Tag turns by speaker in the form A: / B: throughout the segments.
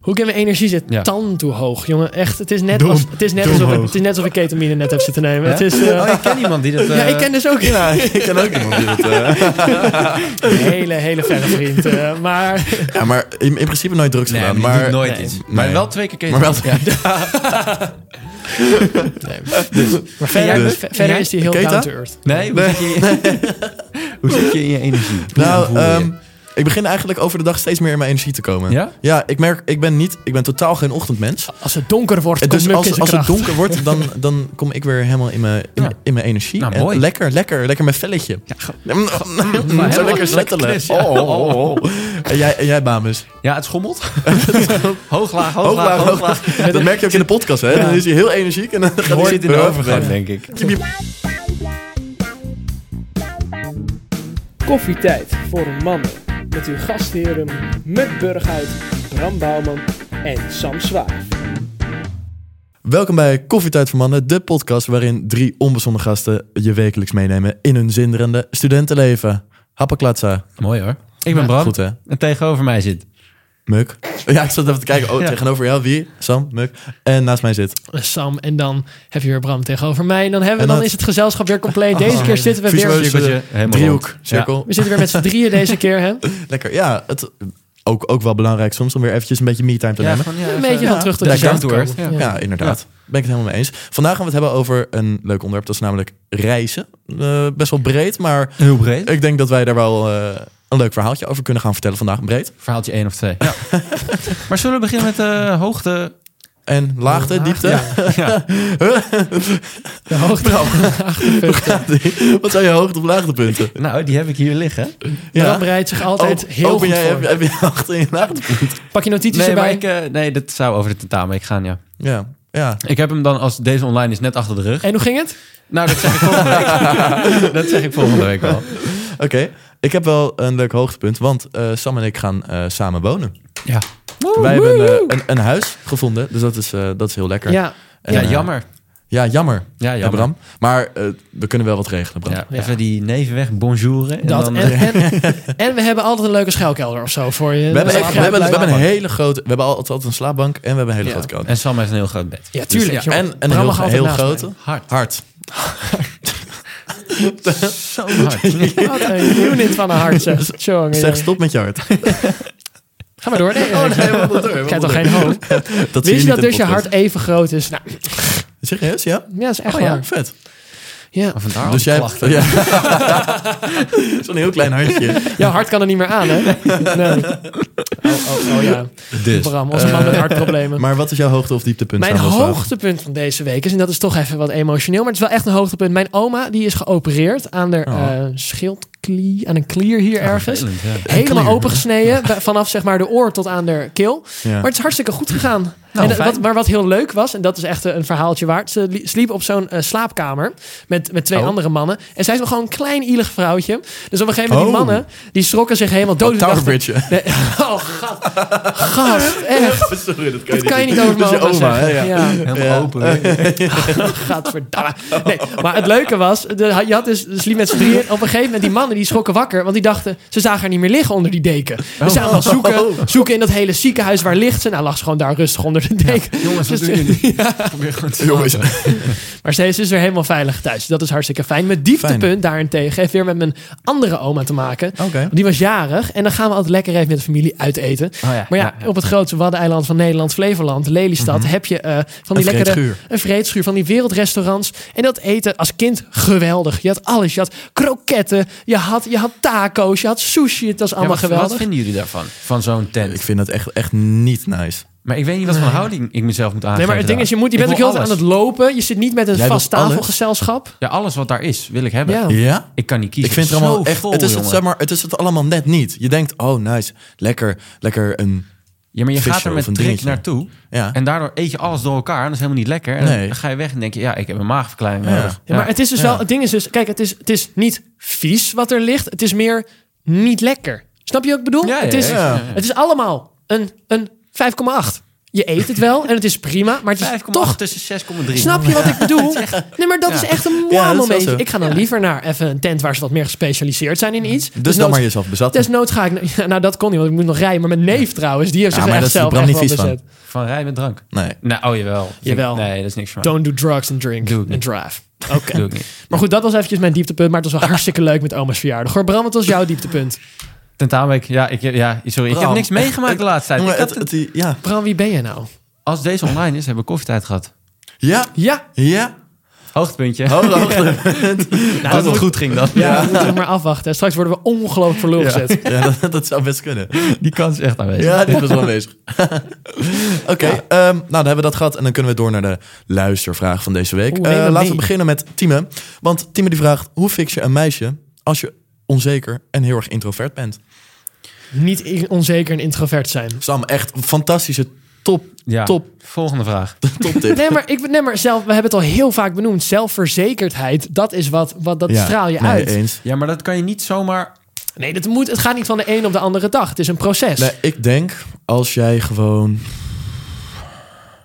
A: hoe ik in mijn energie zit.
B: Ja.
A: Tan toe hoog, jongen. Echt, het is net,
B: Dom.
A: als, het is net,
B: Dom
A: alsof, ik,
B: hoog.
A: het is net alsof ik ketamine net heb zitten nemen.
B: Ja?
A: Het is, eh,
B: Oh, ik ken iemand die dat...
A: ja,
B: eh,
A: ik ken dus ook
C: ik ken ook iemand die dat...
A: een hele, hele verre vriend. eh, maar
D: Ja, maar in, in principe nooit drugs
B: Nee, maar
D: gedaan.
B: die
D: maar
B: doet nooit
A: Nee.
B: iets. Maar
D: Nee.
B: wel twee keer keer.
D: Maar wel-
B: Ja.
A: maar verder,
D: dus-
A: ver- verder is die heel
D: Keta?
A: down to earth.
B: Nee, hoe, Zit je, hoe zit je in je energie? Hoe
D: Nou,
B: voel je je?
D: ehm, ik begin eigenlijk over de dag steeds meer in mijn energie te komen.
B: Ja?
D: ik merk, ik ben niet, ik ben totaal geen ochtendmens.
A: Als het donker wordt, komt
D: Dus
A: Muk in
D: als,
A: zijn
D: als het
A: kracht.
D: donker wordt, dan, dan kom ik weer helemaal in mijn, in,
B: Ja.
D: in mijn energie.
B: Nou,
D: En
B: mooi.
D: lekker, lekker, lekker met velletje. Mm, mm, mm,
B: helemaal
D: Zo
B: lekker
D: lekker settelen.
B: knus, ja.
D: Oh, oh, oh. En jij, en jij Bamus.
B: Ja, het schommelt. hoog, laag, hoog,
D: Hooglaag,
B: laag, hoog, laag.
D: hooglaag. Dat merk je ook in de podcast, hè? Dan is hij heel energiek en dan gaat
B: Je hoort
D: hij
B: het in de overgang, denk ik.
E: Koffietijd voor mannen. Met uw gastheren Muk Burghuis, Bram Bouwman en Sam Zwaar.
D: Welkom bij Koffietijd voor Mannen, de podcast waarin drie onbezonnen gasten je wekelijks meenemen in hun zinderende studentenleven. Happaklatsa.
B: Mooi hoor. Ik ben Bram
D: Goed hè?
B: en tegenover mij zit...
D: Muk. Ja, ik zat even te kijken. Oh,
B: Ja.
D: tegenover jou, wie? Sam, Muk. En naast mij zit.
A: Eh, Sam en dan heb je weer Bram tegenover mij. En dan, hebben,
D: En
A: dan
D: dat- Oh,
A: is het gezelschap weer compleet. Deze keer zitten we weer...
D: Visueus,
B: cirkeltje,
D: eh,
B: helemaal
D: driehoek,
B: rond.
D: cirkel.
A: We zitten weer met z'n drieën deze keer, hè?
D: Lekker. Ja, het, ook, ook wel belangrijk soms om weer eventjes een beetje me-time te nemen.
A: Een beetje van terug tot
D: Ja,
A: de
B: down
A: kant
B: to
A: komen.
B: earth, ja.
A: Ja.
D: Ja, inderdaad. Ben ik het helemaal mee eens. Vandaag gaan we het hebben over een leuk onderwerp. Dat is namelijk reizen. Eh, best wel breed, maar
B: Heel breed.
D: ik denk dat wij daar wel eh, een leuk verhaaltje over kunnen gaan vertellen vandaag. Breed.
B: Verhaaltje één of twee. maar zullen we beginnen met eh, hoogte?
D: En laagte, diepte.
B: Ja.
A: De hoogte.
D: Wat zijn je hoogte- of laagtepunten?
B: Nou, die heb ik hier liggen.
A: Bram bereidt zich altijd
D: Ook-
A: heel
D: ook ben
A: goed
D: Oh, jij,
A: voor.
D: heb, heb je hoogte- en laagtepunten?
A: Pak je notities
B: Nee, maar
A: erbij.
B: ik, eh, nee, dat zou over de tentamenweek gaan, ja.
D: Ja, ja.
B: Ik heb hem dan, als deze online is, net achter de rug.
A: En hoe ging het?
B: Nou, dat zeg ik volgende week. dat zeg ik volgende week wel.
D: Oké, ik heb wel een leuk hoogtepunt, want eh, Sam en ik gaan eh, samen wonen.
B: Ja.
D: Wij hebben eh, een, een huis gevonden, dus dat is, eh, dat is heel lekker.
A: Ja,
D: En,
B: ja,
D: eh,
B: jammer.
D: ja, jammer.
B: Ja,
D: Ja,
B: jammer.
D: Bram. Maar eh, we kunnen wel wat regelen, Bram.
B: Ja, even die neven weg, bonjouren. En
A: dat.
B: dan, eh,
A: En, en, en we hebben altijd een leuke schuilkelder of zo voor je.
D: eh,
A: Dus
D: We hebben,
A: Dat is
D: echt, we,
A: wel
D: hebben, we
A: leuk.
D: hebben een hele grote... We hebben altijd altijd een slaapbank en we hebben een hele grote
B: en
D: grote.
B: Sam heeft een heel groot bed.
A: Ja,
D: En,
A: tuurlijk. jongen.
D: en een
A: Bram
D: heel,
A: mag altijd
D: heel
A: naast
D: grote.
B: Hard.
D: Hart.
B: Zo hard.
A: mij. Wat een unit van een hart, zeg. Tjonge,
D: Zeg
A: jonge.
D: stop met je hart.
A: Ga maar door. Nee, ik heb toch geen hoop.
D: Dat zie
A: Wist je
D: niet
A: dat
D: in de
A: dus je
D: podcast.
A: hart even groot is? Nou,
D: Serieus, ja?
A: ja, dat is echt
D: Oh
A: waar.
D: ja, vet.
A: Ja.
B: Vandaar
D: dus
B: dus
D: jij...
B: klachten.
D: Ja. Zo'n heel klein hartje.
A: Jouw hart kan er niet meer aan, hè? Nee. Oh, oh, oh ja.
D: Dus.
A: Bram, onze man met hartproblemen.
D: Maar wat is jouw hoogte- of dieptepunt?
A: Mijn
D: Samuel Slaag?
A: hoogtepunt van deze week is, en dat is toch even wat emotioneel, maar het is wel echt een hoogtepunt. Mijn oma die is geopereerd aan haar eh, schildklier, aan een klier hier ergens.
B: Vervelend, ja.
A: Helemaal opengesneden, bij- vanaf zeg maar de oor tot aan de keel.
D: Ja.
A: Maar het is hartstikke goed gegaan.
B: Nou,
A: en, eh,
B: fijn.
A: wat, maar wat heel leuk was, en dat is echt eh, een verhaaltje waard. Ze li- sliep op zo'n eh, slaapkamer met, met twee
D: Oh.
A: andere mannen. En zij is nog gewoon een klein ielig vrouwtje. Dus op een gegeven moment die
D: Oh.
A: mannen, die schrokken zich helemaal dood.
D: Oh,
A: Die dachten-
D: Towerbridge.
A: Nee, oh, gast. Gast, echt.
D: Sorry, dat kan
A: Dat kan je niet over
D: Dat
A: mijn
D: is je
A: oma
D: oma, hè,
A: zeggen.
D: ja.
A: Ja.
B: Helemaal
D: Ja.
B: open. weer.
A: Gadverdamme. Nee, maar het leuke was, de, je had dus, dus liep met z'n drieën. Op een gegeven moment, die mannen die schrokken wakker. Want die dachten, ze zagen haar niet meer liggen onder die deken. Ze
D: Oh.
A: zagen al zoeken, zoeken in dat hele ziekenhuis. Waar ligt ze? Nou, lag ze gewoon daar rustig onder de deken.
B: Jongens, wat
A: Dus-
B: doen jullie? Probeer gewoon te
D: Jongens.
A: Maar ze is dus weer helemaal veilig thuis. Dat is hartstikke fijn. Mijn dieptepunt
D: Fijn.
A: daarentegen heeft weer met mijn andere oma te maken.
D: Oké.
A: Die was jarig. En dan gaan we altijd lekker even met de familie uiteten.
B: ja,
A: maar ja,
B: ja, ja.
A: op het grootste waddeneiland van Nederland, Flevoland, Lelystad, heb je eh, van die
D: Een
A: lekkere...
D: vreedschuur.
A: Een vreedschuur van die wereldrestaurants. En dat eten als kind geweldig. Je had alles. Je had kroketten. Je had, je had taco's. Je had sushi. Het was
B: Ja,
A: allemaal
B: wat, wat
A: geweldig.
B: vinden jullie daarvan? Van zo'n
D: Ik
B: tent?
D: vind dat echt, echt niet nice.
B: Maar ik weet niet wat voor houding ik mezelf moet aangeven.
A: Nee, maar het ding is, je, moet, je
B: Ik
A: bent ook
B: wil
A: heel veel aan het
B: alles.
A: lopen. Je zit niet met een
D: Jij
A: vast
D: wilt alles?
A: tafelgezelschap.
B: Ja, alles wat daar is, wil ik hebben.
A: Ja.
D: Ja?
B: Ik kan niet kiezen.
D: Ik vind het
B: Zo
D: allemaal echt...
B: vol,
D: het, is het,
B: jongen.
D: zeg maar, het is het allemaal net niet. Je denkt, oh nice, lekker, lekker een
B: Ja, maar je
D: visje
B: gaat er
D: of een
B: met trek
D: dingetje.
B: naartoe.
D: Ja.
B: En daardoor eet je alles door elkaar. En dat is helemaal niet lekker. En
D: Nee.
B: dan ga je weg en denk je, ja, ik heb een maagverkleining
D: Ja.
B: nodig.
A: Ja, maar het is dus
D: Ja.
A: wel, het ding is dus, kijk, het is, het is niet vies wat er ligt. Het is meer niet lekker. Snap je wat ik bedoel?
B: Ja, ja,
A: het, is,
B: ja,
D: ja.
A: het is allemaal een, een 5,8. Je eet het wel en het is prima, maar het is
B: 5,8
A: toch...
B: tussen 6,3.
A: Snap je wat ik bedoel? Nee, maar dat is echt een mooi
D: Ja, dat is wel
A: momentje.
D: zo.
A: Ik ga dan liever naar even een tent waar ze wat meer gespecialiseerd zijn in iets.
D: Dus dan maar jezelf bezatten.
A: Desnoods ga ik... na- Ja, nou, dat kon niet, want ik moet nog rijden. Maar mijn neef trouwens, die heeft
D: Ja,
A: zich
D: maar
A: echt
D: dat is de
A: zelf
D: brand
A: echt wel
D: niet vies van.
A: bezet.
B: Van rij met drank.
D: Nee.
B: Nou, oh jawel. Vind ik-
A: Jawel.
B: Nee, dat is niks voor mij.
A: Don't do drugs and drink
B: Doe ik
A: and
B: niet.
A: drive. Oké.
B: Doe ik niet.
A: Maar goed, dat was eventjes mijn dieptepunt. Maar het was wel hartstikke leuk met oma's verjaardag. Hoor, Bram, wat was jouw dieptepunt?
B: Tentamenweek, ja, ik, ja, sorry. Ik heb
D: Bram,
B: niks meegemaakt de laatste tijd.
D: Maar
B: Ik had
D: het,
B: het-
D: het, ja.
A: Bram, wie ben je nou?
B: als deze online is, hebben we koffietijd gehad.
D: Ja.
A: Ja,
D: Ja.
B: Hoogtepuntje.
D: Oh, oh.
B: nou, dat het goed ging dan.
A: ja. we moeten nog maar afwachten. Straks worden we ongelooflijk voor lul gezet.
D: ja dat, dat zou best kunnen.
B: Die kans is echt aanwezig.
D: Ja, dit was wel aanwezig. Oké, ehm, nou dan hebben we dat gehad. En dan kunnen we door naar de luistervraag van deze week.
A: Oeh, neem
D: Eh,
A: hem
D: laten
A: mee.
D: we beginnen met Time. Want Time die vraagt, hoe fix je een meisje als je onzeker en heel erg introvert bent?
A: Niet in- onzeker en introvert zijn.
D: Sam, echt een fantastische top,
B: Ja.
D: top,
B: Volgende vraag.
D: top tip.
A: Nee maar, ik, nee, maar zelf, we hebben het al heel vaak benoemd. Zelfverzekerdheid, dat is wat, wat dat
D: Ja,
A: straal je
D: nee,
A: uit.
D: eens.
B: Ja, maar dat kan je niet zomaar...
A: Nee, dat moet, het gaat niet van de een op de andere dag. Het is een proces.
D: Nee, ik denk als jij gewoon...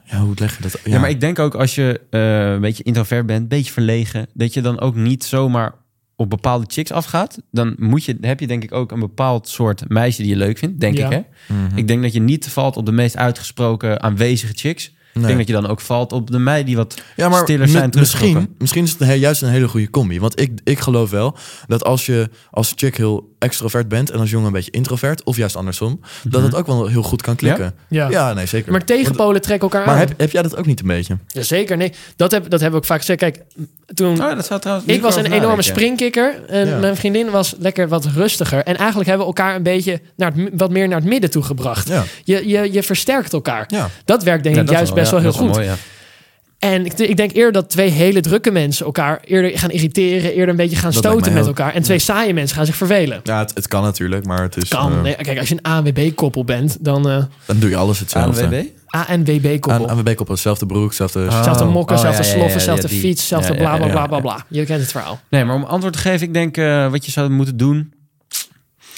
D: Ja, hoe leg je dat?
B: Ja, maar ik denk ook als je eh, een beetje introvert bent, een beetje verlegen, dat je dan ook niet zomaar op bepaalde chicks afgaat. Dan moet je, heb je denk ik ook een bepaald soort meisje die je leuk vindt, denk
A: Ja.
B: ik hè. Ik denk dat je niet valt op de meest uitgesproken aanwezige chicks. Ik denk dat je dan ook valt op de meiden die wat
D: Ja, maar
B: stiller
D: mi-
B: zijn teruggetrokken.
D: misschien, misschien is het he- juist een hele goede combi. Want ik, ik geloof wel dat als je als chick heel extrovert bent... en als jongen een beetje introvert, of juist andersom... dat het ook wel heel goed kan klikken.
A: Ja.
D: Mhm. Ja, nee, zeker.
A: Maar tegenpolen trekken elkaar
D: Want- maar
A: aan.
D: heb, heb jij dat ook niet een beetje?
A: Ja, zeker, nee. Dat, heb, dat hebben we ook vaak gezegd. Kijk, toen
B: Oh, dat zou trouwens
A: Ik
B: niet
A: was
B: over
A: een enorme
B: nadenken.
A: springkikker. En
D: Ja.
A: mijn vriendin was lekker wat rustiger. En eigenlijk hebben we elkaar een beetje naar het, mi- wat meer naar het midden toe gebracht.
D: Ja.
A: Je, je, je versterkt elkaar.
D: Ja.
A: Dat werkt denk
B: Ja,
A: ik
B: dat
A: juist best
B: ja,
A: wel heel
B: dat is
A: goed.
B: mooi, ja.
A: en ik, ik denk eerder dat twee hele drukke mensen elkaar eerder gaan irriteren. Eerder een beetje gaan
D: Dat lijkt
A: stoten
D: mij
A: met
D: ook.
A: elkaar. En twee saaie mensen gaan zich vervelen.
D: Ja, het, het kan natuurlijk, maar
B: dus,
D: het is... eh,
A: Kan. Nee, kijk, als je een ANWB-koppel bent, dan... eh
D: Dan doe je alles hetzelfde.
B: ANWB?
A: ANWB-koppel.
D: Aan koppel hetzelfde broek, hetzelfde...
A: Zelfde mokken,
B: Oh,
A: zelfde
B: ja, ja, ja,
A: sloffen,
B: ja,
A: zelfde
B: die-
A: fiets, zelfde
B: ja, ja,
A: bla, bla,
B: ja,
A: bla,
B: ja.
A: bla, bla. Je kent het verhaal.
B: Nee, maar om antwoord te geven, ik denk eh, wat je zou moeten doen.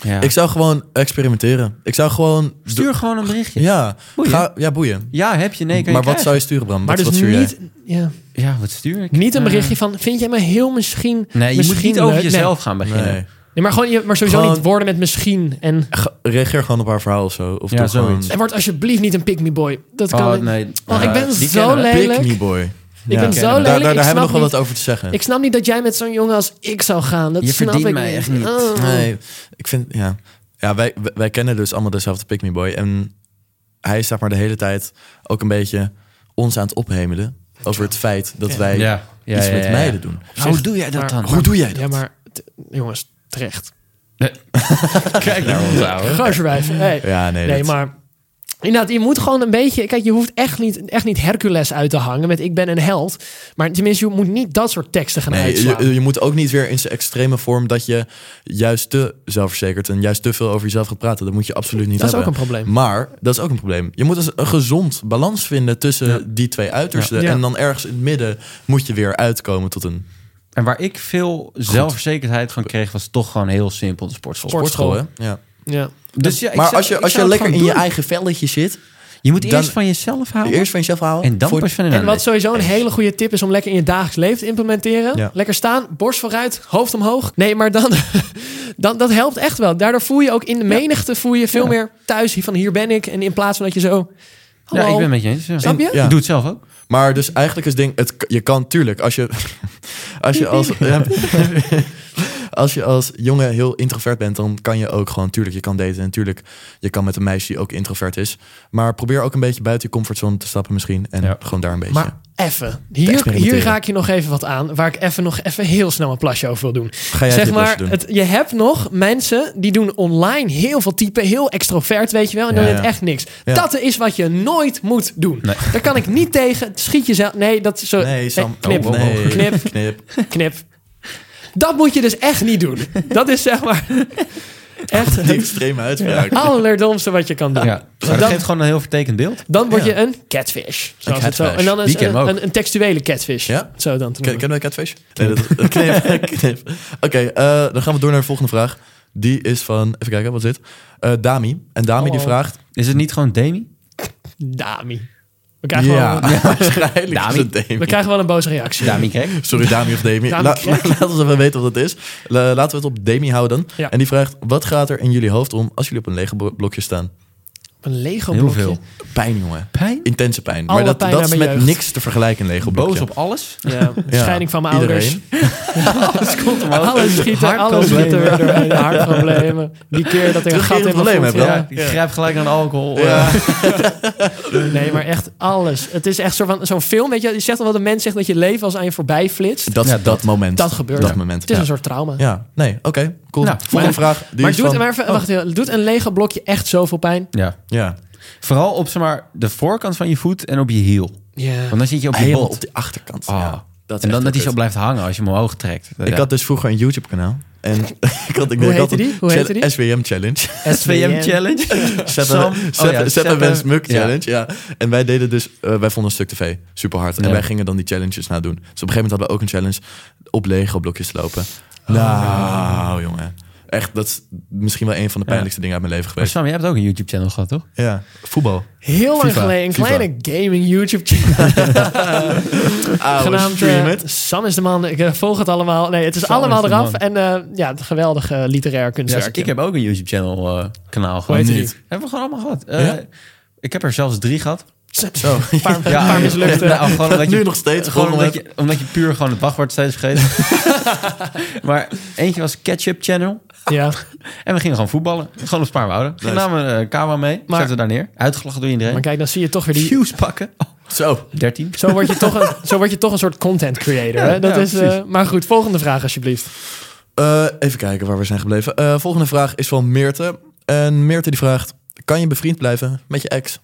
B: Ja.
D: Ik zou gewoon experimenteren. Ik zou gewoon...
B: Stuur gewoon een berichtje. Ja,
D: Ja,
B: Boeien.
D: Ga, ja boeien.
B: heb je, nee, kan
D: maar
B: je
D: wat zou je sturen, Bram?
A: Maar
D: wat,
A: dus
D: wat stuur jij?
A: niet... Ja.
B: krijgen. Ja, wat stuur ik?
A: Niet een
B: Eh,
A: berichtje van, vind jij me heel misschien...
B: Nee, je
A: misschien
B: moet niet over
A: leuk?
B: jezelf gaan beginnen.
D: Nee.
A: Nee, nee maar, gewoon, je- maar sowieso
D: Gewoon-
A: niet woorden met misschien. En,
D: Ge- Reageer gewoon op haar verhaal of zo. Of
B: Ja,
D: doe gewoon-
B: zoiets.
A: en word alsjeblieft niet een pick-me boy. Dat kan
B: Oh,
A: ik.
B: nee.
A: Oh, ik ben
B: Eh, die
A: zo
B: kennen we.
A: lelijk.
D: Pick me boy.
A: Ik ben
B: Ja.
A: zo
B: Daar-
A: lelijk.
D: Daar, daar,
A: ik,
D: daar hebben we nog
A: snap
D: wel
A: niet,
D: wat over te zeggen.
A: ik snap niet dat jij met zo'n jongen als ik zou gaan. Dat
B: Je
A: snap
B: verdient
A: ik
B: mij echt niet.
A: Oh.
D: Nee, ik vind, ja. Ja, wij, wij- wij kennen dus allemaal dezelfde Pick Me Boy. En hij is zeg maar de hele tijd ook een beetje ons aan het ophemelen. Over het feit dat wij
B: Ja. Ja,
D: iets
B: ja,
D: met
B: ja, ja.
D: meiden doen.
B: Hoe doe jij dat
A: Maar-
B: dan?
D: Hoe doe jij dat?
A: Ja, maar t- jongens, terecht.
B: Kijk naar ons, ouwe.
A: Garswijf. Hey.
D: Ja, nee.
A: Nee,
D: dat-
A: maar... Inderdaad, je moet gewoon een beetje... Kijk, je hoeft echt niet, echt niet Hercules uit te hangen met ik ben een held. Maar tenminste, je moet niet dat soort teksten gaan
D: Nee,
A: uitslaan.
D: je, je moet ook niet weer in zijn extreme vorm dat je juist te zelfverzekerd en juist te veel over jezelf gaat praten. Dat moet je absoluut niet
A: Dat is
D: hebben.
A: ook een probleem.
D: Maar dat is ook een probleem. Je moet dus een gezond balans vinden tussen die twee uitersten.
A: Ja.
D: En dan ergens in het midden moet je weer uitkomen tot een
B: En waar ik veel zelfverzekerdheid van kreeg, was toch gewoon heel simpel de sportschool.
A: Sport. Sportschool.
D: sportschool. hè? Ja.
A: ja.
B: Dus ja, ik
D: Maar
B: zou-
D: als je,
B: ik
D: als
B: zou
D: je
B: het
D: lekker in
B: gewoon
D: je
B: doen.
D: eigen velletje zit,
B: Je moet eerst
D: dan-
B: van jezelf houden
D: eerst van jezelf houden.
B: en dan
D: voor-
B: pas van een
A: En
B: ander.
A: wat sowieso een hele goede tip is om lekker in je dagelijks leven te implementeren.
D: Ja.
A: Lekker staan, borst vooruit, hoofd omhoog. Nee, maar dan, dan, dat helpt echt wel. Daardoor voel je ook in de menigte voel je veel meer thuis hier van hier ben ik. En in plaats van dat je zo... Hallo.
B: Ja, ik ben het met je eens. ja.
A: Snap je?
D: Ja.
B: Ik doe het zelf ook.
D: Maar dus eigenlijk is het ding, het, je kan tuurlijk, als je als, je als, ja, als je als jongen heel introvert bent, dan kan je ook gewoon, tuurlijk, je kan daten en tuurlijk, je kan met een meisje die ook introvert is. Maar probeer ook een beetje buiten je comfortzone te stappen misschien en
B: Ja.
D: gewoon daar een beetje.
A: Maar even, hier, hier
D: experimenteren.
A: raak je nog even wat aan... waar ik even nog even heel snel een plasje over wil doen.
D: Ga jij
A: zeg
D: dit
A: maar,
D: lesje doen?
A: het, je hebt nog mensen die doen online heel veel typen, heel extrovert, weet je wel, en dan
D: Ja,
A: doen het
D: ja.
A: echt niks.
D: Ja.
A: Dat is wat je nooit moet doen.
B: Nee.
A: Daar kan ik niet tegen. Het Schiet jezelf. Nee, dat is zo.
D: Nee, Sam.
A: Eh, knip,
D: Oh, oh, oh.
A: knip,
D: Knip.
A: knip. Dat moet je dus echt niet doen. Dat is zeg maar. Echt
D: Die extreme uitspraak.
A: het allerdomste wat je kan doen.
B: Ja. Maar dat
A: Dan-
B: geeft gewoon een heel vertekend beeld.
A: Dan word je
D: Ja.
A: een catfish. Zoals het zo.
D: catfish.
A: En dan
B: Die
A: is
B: kennen
A: een,
B: we ook.
A: een, een textuele catfish.
D: Ja?
A: Zo dan te
D: Ken,
A: noemen.
D: kennen we Catfish? Nee, dat, dat knip, knip. Oké, eh, dan gaan we door naar de volgende vraag. Die is van, even kijken, wat zit? Eh Dami. En Dami die
A: Hallo.
D: vraagt...
B: Is het niet gewoon Demi?
A: Dami. We krijgen, wel, een-
D: waarschijnlijk
B: Dami.
D: is het Dami.
A: we krijgen wel een boze reactie.
B: Dami Kek.
D: Sorry, Dami of Demi.
A: Dami
D: La-
A: Kek.
D: laat ons even weten wat het is. La- laten we het op Demi houden.
A: Ja.
D: En die vraagt, wat gaat er in jullie hoofd om als jullie op een lege blo- blokje staan?
A: Een Lego
B: Heel
A: blokje.
B: veel.
D: Pijn, jongen.
B: Pijn?
D: Intense pijn.
A: Alle
D: maar dat,
A: pijn
D: dat
A: naar
D: is met
A: mijn jeugd.
D: niks te vergelijken, een lege blokje.
B: Boos op alles?
A: Ja,
D: Ja.
A: scheiding van mijn ouders.
D: Iedereen.
A: Alles schieten, alles schieten
B: Hartproblemen.
A: er doorheen. Hartproblemen. Die keer dat ik een gat in mijn
D: Terugkerend
A: voet...
D: probleem
B: Ja,
A: Ja.
B: ik grijp gelijk aan alcohol.
D: Ja.
B: eh.
A: Nee, maar echt alles. Het is echt zo van- zo'n film. Weet je, je zegt al wat een mens zegt dat je leven als aan je voorbij flitst.
D: Dat, dat, moment.
A: Dat gebeurt.
D: Dat moment.
A: Het is
D: ja.
A: een soort trauma.
D: Ja, nee, oké, cool.
B: Nou,
D: Volgende
A: maar-
D: vraag. Die
A: maar,
D: is
A: doet,
D: van, Oh.
A: maar even- wacht even, doet een Lego blokje echt zoveel pijn?
B: ja.
D: Ja,
B: Vooral op zeg maar, de voorkant van je voet en op je hiel.
A: Ja.
B: Want dan zit je op je
D: helemaal
B: bot.
D: op de achterkant.
B: Ah.
D: Ja, dat is
B: en
D: echt
B: dan dat hij zo
D: kut.
B: blijft hangen als je hem omhoog trekt.
D: Ik had dus vroeger een YouTube-kanaal. En ik had, ik
A: Hoe
D: ik had
A: heette die?
D: een
A: Hoe
D: chal-
A: heette die?
D: SWM Challenge.
B: SVM Challenge.
D: Zet
B: Sam-
D: een-
B: oh
D: zet-
B: ja,
D: Zet
B: zet
D: een wens
B: een-
D: muk
B: ja.
D: challenge. Ja. En wij deden dus, eh, wij vonden een stuk tv super hard.
B: Ja.
D: En wij gingen dan die challenges nadoen. Dus op een gegeven moment hadden we ook een challenge op Lego blokjes te lopen.
B: Oh.
D: Nou, jongen. Echt, dat is misschien wel een van de pijnlijkste dingen uit mijn leven
B: Maar
D: geweest.
B: Sam, jij hebt ook een YouTube channel gehad, toch?
D: Ja, voetbal.
A: Heel lang
D: FIFA,
A: geleden een
D: FIFA.
A: kleine gaming YouTube channel genaamd eh,
D: Stream it.
A: Sam is de man. Ik eh, volg het allemaal. Nee, het is
B: Sam
A: allemaal
B: is de
A: eraf.
B: man.
A: En eh, ja, het geweldige eh, literair
B: Ja,
A: kunstwerk.
B: ik heb ook een YouTube channel eh, kanaal gehad.
A: heet die? Niet.
B: Hebben we gewoon allemaal gehad. Eh,
D: Ja?
B: Ik heb er zelfs drie gehad.
D: Zo.
A: een paar, een paar mislukte.
B: Nou, gewoon omdat je,
D: nu nog steeds.
B: gewoon
D: gewoon
B: omdat je, omdat je puur gewoon het wachtwoord steeds vergeet. maar eentje was Ketchup Channel.
A: Ja.
B: En we gingen gewoon voetballen. Gewoon op Spaarwouden. We
D: Nice.
B: namen een camera eh, mee.
A: Maar-
B: zetten we daar neer. Uitgelachen door iedereen.
A: Maar kijk, dan zie je toch weer die...
B: Views pakken. Oh,
D: Zo.
B: 13.
A: Zo word, je toch een, zo word je toch een soort content creator.
B: Ja,
A: hè? Dat
B: ja,
A: is, eh,
B: precies.
A: maar goed, volgende vraag alsjeblieft.
D: Eh, even kijken waar we zijn gebleven. Eh, volgende vraag is van Meerte. En Meerte die vraagt: Kan je bevriend blijven met je ex?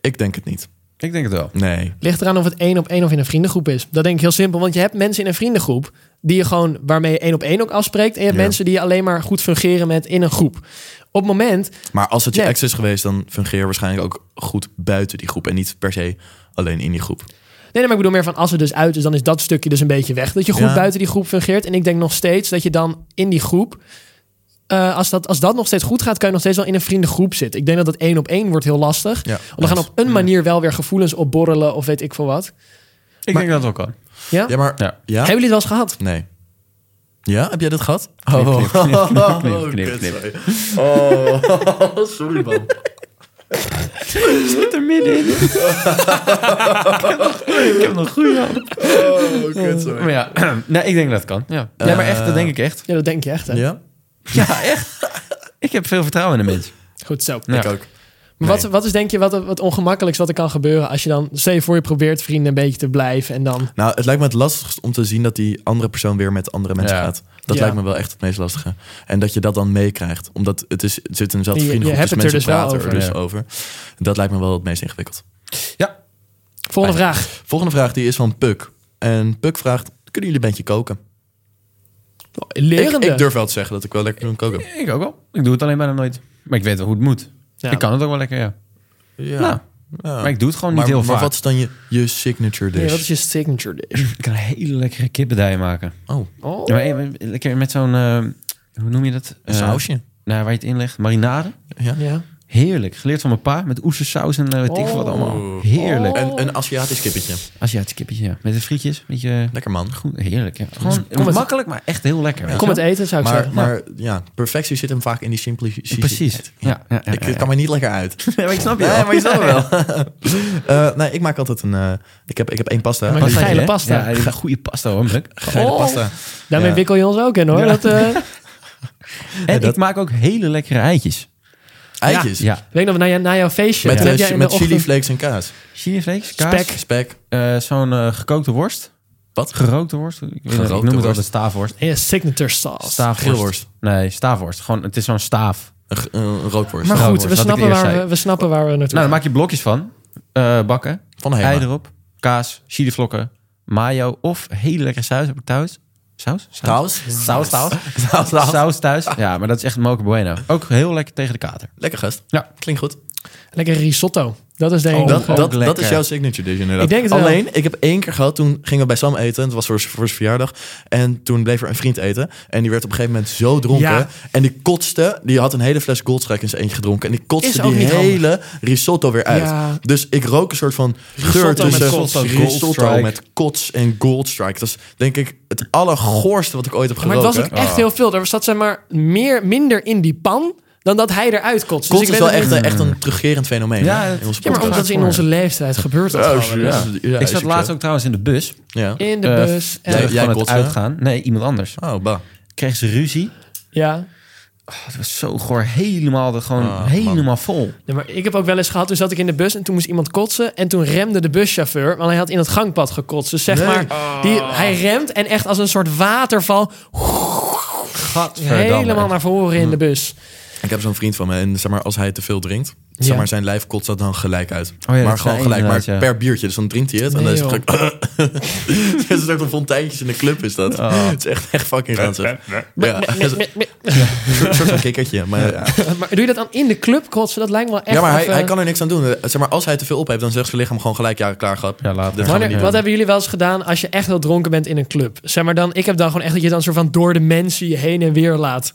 D: Ik denk het niet.
B: Ik denk het wel.
D: Nee.
A: Ligt eraan of het één op één of in een vriendengroep is. Dat denk ik heel simpel, want je hebt mensen in een vriendengroep die je gewoon waarmee je één op één ook afspreekt. En je hebt
D: Ja.
A: mensen die je alleen maar goed fungeren met in een groep. Op het moment,
D: Maar als het je
A: Nee.
D: ex is geweest, dan fungeer je waarschijnlijk ook goed buiten die groep. En niet per se alleen in die groep.
A: Nee, nee, maar ik bedoel meer van als het dus uit is, dan is dat stukje dus een beetje weg. Dat je goed
D: Ja.
A: buiten die groep fungeert. En ik denk nog steeds dat je dan in die groep, eh, als, dat, als dat nog steeds goed gaat, kan je nog steeds wel in een vriendengroep zitten. Ik denk dat dat één op één wordt heel lastig.
D: Ja,
A: Want dan gaan op een manier wel weer gevoelens opborrelen of weet ik veel wat.
B: Ik denk dat het wel kan.
A: Ja?
D: Ja, maar. Ja?
B: Ja.
A: Hebben jullie het wel eens gehad?
D: Nee. Oh. Ja, heb jij dat gehad?
B: knip, knip, knip,
D: Oh,
B: knip,
D: kut,
B: knip.
D: sorry. Oh, sorry man.
B: Zit er middenin. ik heb nog goed.
D: Oh, kut, sorry. Eh.
B: Maar ja, nee, ik denk dat het kan. Ja. ja, maar echt, dat denk ik echt.
A: Ja, dat denk je echt. Hè?
D: Ja?
B: Ja, echt. Ik heb veel vertrouwen in de mens. Nou
A: Goed zo.
B: Ja.
D: Ik ook.
A: Maar
D: Nee.
A: wat, wat is denk je wat, wat ongemakkelijks wat er kan gebeuren als je dan, stel je voor je probeert vrienden een beetje te blijven en dan...
D: Nou, het lijkt me het lastigst om te zien dat die andere persoon weer met andere mensen
B: Ja.
D: gaat. Dat
A: Ja.
D: lijkt me wel echt het meest lastige. En dat je dat dan meekrijgt. Omdat het, is, het zit in dezelfde
A: Je- je
D: vriendengroep.
A: hebt het er
D: mensen
A: dus wel
D: praten
A: over.
D: er dus
B: Ja.
D: over. Dat lijkt me wel het meest ingewikkeld.
B: Ja.
A: Volgende vraag.
D: Volgende vraag die is van Puk. En Puk vraagt, kunnen jullie een beetje koken? Ik,
A: Lerende.
D: ik durf dus. wel te zeggen dat ik wel lekker kan koken.
B: Ik ook wel. Ik doe het alleen bijna nooit. Maar ik weet wel hoe het moet.
A: Ja.
B: Ik kan het ook wel lekker, ja.
D: Ja.
B: Nou,
D: Ja.
B: maar ik doe het gewoon
D: maar,
B: niet heel
D: maar
B: vaak.
D: wat is dan je, je signature dish?
A: Nee, wat is je signature dish?
B: Ik kan een hele lekkere kippendij maken.
D: Oh,
A: Oh.
B: Ja, maar even lekker met zo'n, eh, hoe noem je dat?
D: een
B: Eh,
D: sausje.
B: Nou, waar je het inlegt. Marinade.
D: Ja.
A: Ja.
B: Heerlijk. Geleerd van mijn pa. Met oestersaus en eh, weet ik veel
D: Oh.
B: wat allemaal. Heerlijk.
A: Oh.
D: En een Aziatisch kippetje.
B: Aziatisch kippetje, ja. Met de frietjes. Weet je,
D: Lekker man.
B: goed, heerlijk. Ja. Gewoon
A: kom het-
B: makkelijk, maar echt heel lekker. weet je
A: Kom
B: wel?
A: het eten, zou ik
D: Maar,
A: zeggen.
D: maar ja, perfectie zit hem vaak in die simpliciteit.
B: Precies. Ja, ja, ja,
D: Ik,
B: ja,
D: het kan me niet lekker uit.
B: ja. Maar ik snap je
D: Nee,
B: wel.
D: maar je snapt het wel. Eh, nee, ik maak altijd een... eh, ik, heb, ik heb één pasta.
A: Maar- Geile
B: hè?
A: pasta.
B: Ja, een goede pasta hoor. Muk.
A: Oh.
D: pasta.
A: Daarmee
D: Ja.
A: wikkel je ons ook in hoor.
B: Ja.
A: Dat, eh,
B: En
D: dat-
B: ik maak ook hele lekkere eitjes.
D: Eitjes.
B: Ja,
A: weet nog, na, je- na jouw feestje.
D: Met,
A: toen
D: eh,
A: heb jij in de
D: met chili
A: ochtend-
D: flakes en kaas.
B: chiliflakes, kaas,
A: Spek.
D: Spek.
B: eh, zo'n eh, gekookte worst,
D: Wat?
B: gerookte worst. Ik, weet niet, ik
D: Gerookte
B: noem het
D: worst.
B: altijd staafworst.
A: Ja, signature sauce.
B: Staafworst.
D: Geelworst.
B: Nee, staafworst. Gewoon, het is zo'n staaf.
D: Een, ge- een rookworst.
A: Maar goed,
B: Staafworst,
A: we
B: wat ik
A: snappen,
B: eerst
A: waar
B: zei.
A: we, we snappen waar we naartoe
B: Nou, dan
A: gaan.
B: maak je blokjes van. Eh, bakken,
D: Van Hema.
B: ei erop, kaas, chilivlokken, mayo of hele lekkere saus heb ik thuis. Saus?
D: Saus?
B: Saus, saus.
D: Saus, saus.
B: Saus thuis. Ja, maar dat is echt mocha bueno. Ook heel lekker tegen de kater.
D: Lekker gast.
B: Ja.
D: Klinkt goed.
A: Lekker risotto. Dat is denk ik.
D: dat,
B: ook
D: dat, dat
B: lekker.
D: is jouw signature dish inderdaad.
A: Ik denk het wel.
D: Alleen, ik heb één keer gehad, toen gingen we bij Sam eten. Het was voor, voor zijn verjaardag. En toen bleef er een vriend eten. En die werd op een gegeven moment zo dronken.
A: Ja.
D: En die kotste, die had een hele fles Goldstrike in zijn eentje gedronken. En die
A: Is
D: kotste
A: ook
D: die
A: niet
D: hele risotto weer uit.
A: Ja.
D: Dus ik rook een soort van geur
B: Risotto met
D: tussen
B: kots.
D: risotto
B: Goldstrike.
D: met kots en Goldstrike. Dat is denk ik het allergoorste wat ik ooit heb
A: maar
D: geroken.
A: het was ook echt heel veel. Er zat zeg maar meer, minder in die pan dan dat hij eruit
D: Kots
A: kotst. dus ik
D: is
A: weet
D: wel
A: het
D: echt,
A: niet-
D: een- echt een terugkerend fenomeen.
B: Ja,
D: hè,
B: het-
D: in onze
A: Ja, maar
D: podcast.
A: omdat het in onze leeftijd gebeurt. Dat
D: Oh,
A: gewoon weer.
D: ja. Ja,
B: ik
D: is
B: zat
D: zo.
B: laatst ook trouwens in de bus.
D: Ja.
A: In de
B: Eh,
A: bus. en-
D: Jij-
B: Jij,
D: jij
B: het
D: botsen?
B: uitgaan. Nee, iemand anders.
D: Oh, bah.
B: Kreeg ze ruzie.
A: ja.
B: Oh, dat was zo goor. Helemaal, de- gewoon
D: Ah,
B: helemaal vol.
A: Nee, maar ik heb ook wel eens gehad, toen zat ik in de bus en toen moest iemand kotsen. En toen remde de buschauffeur, want hij had in het gangpad gekotst. Dus zeg
D: Nee.
A: maar, die,
B: Ah.
A: hij remt en echt als een soort waterval
B: Gadverdamme.
A: helemaal naar voren in de bus.
D: Ik heb zo'n vriend van me en zeg maar, als hij te veel drinkt,
A: Ja. Oh
D: zeg maar, zijn lijf kotst dat dan gelijk uit.
B: ja, dat
D: maar
B: is
D: gewoon
B: wel
D: gelijk, maar
B: inderdaad, ja.
D: per biertje. Dus dan drinkt hij het en
A: Nee,
D: dan is het gelijk... Het is een soort van fonteintjes in de club is dat.
A: Ah.
D: Het is echt, echt fucking ranzig. Ja,
A: Met- met- met-
D: een soort van kikkertje. Maar, ja.
A: maar doe je dat dan in de club kotsen? Dat lijkt me wel echt...
D: ja, maar hij,
A: even-
D: hij kan er niks aan doen. Eh, Zeg maar, als hij te veel op heeft, dan zegt zijn lichaam gewoon gelijk, ja, klaar, grap.
B: Ja, laat
D: Dit gaan we
A: Wanneer-
D: niet
A: wat
D: doen.
A: hebben jullie wel eens gedaan als je echt heel dronken bent in een club? Zeg maar dan, ik heb dan gewoon echt dat je dan soort van door de mensen je heen en weer laat.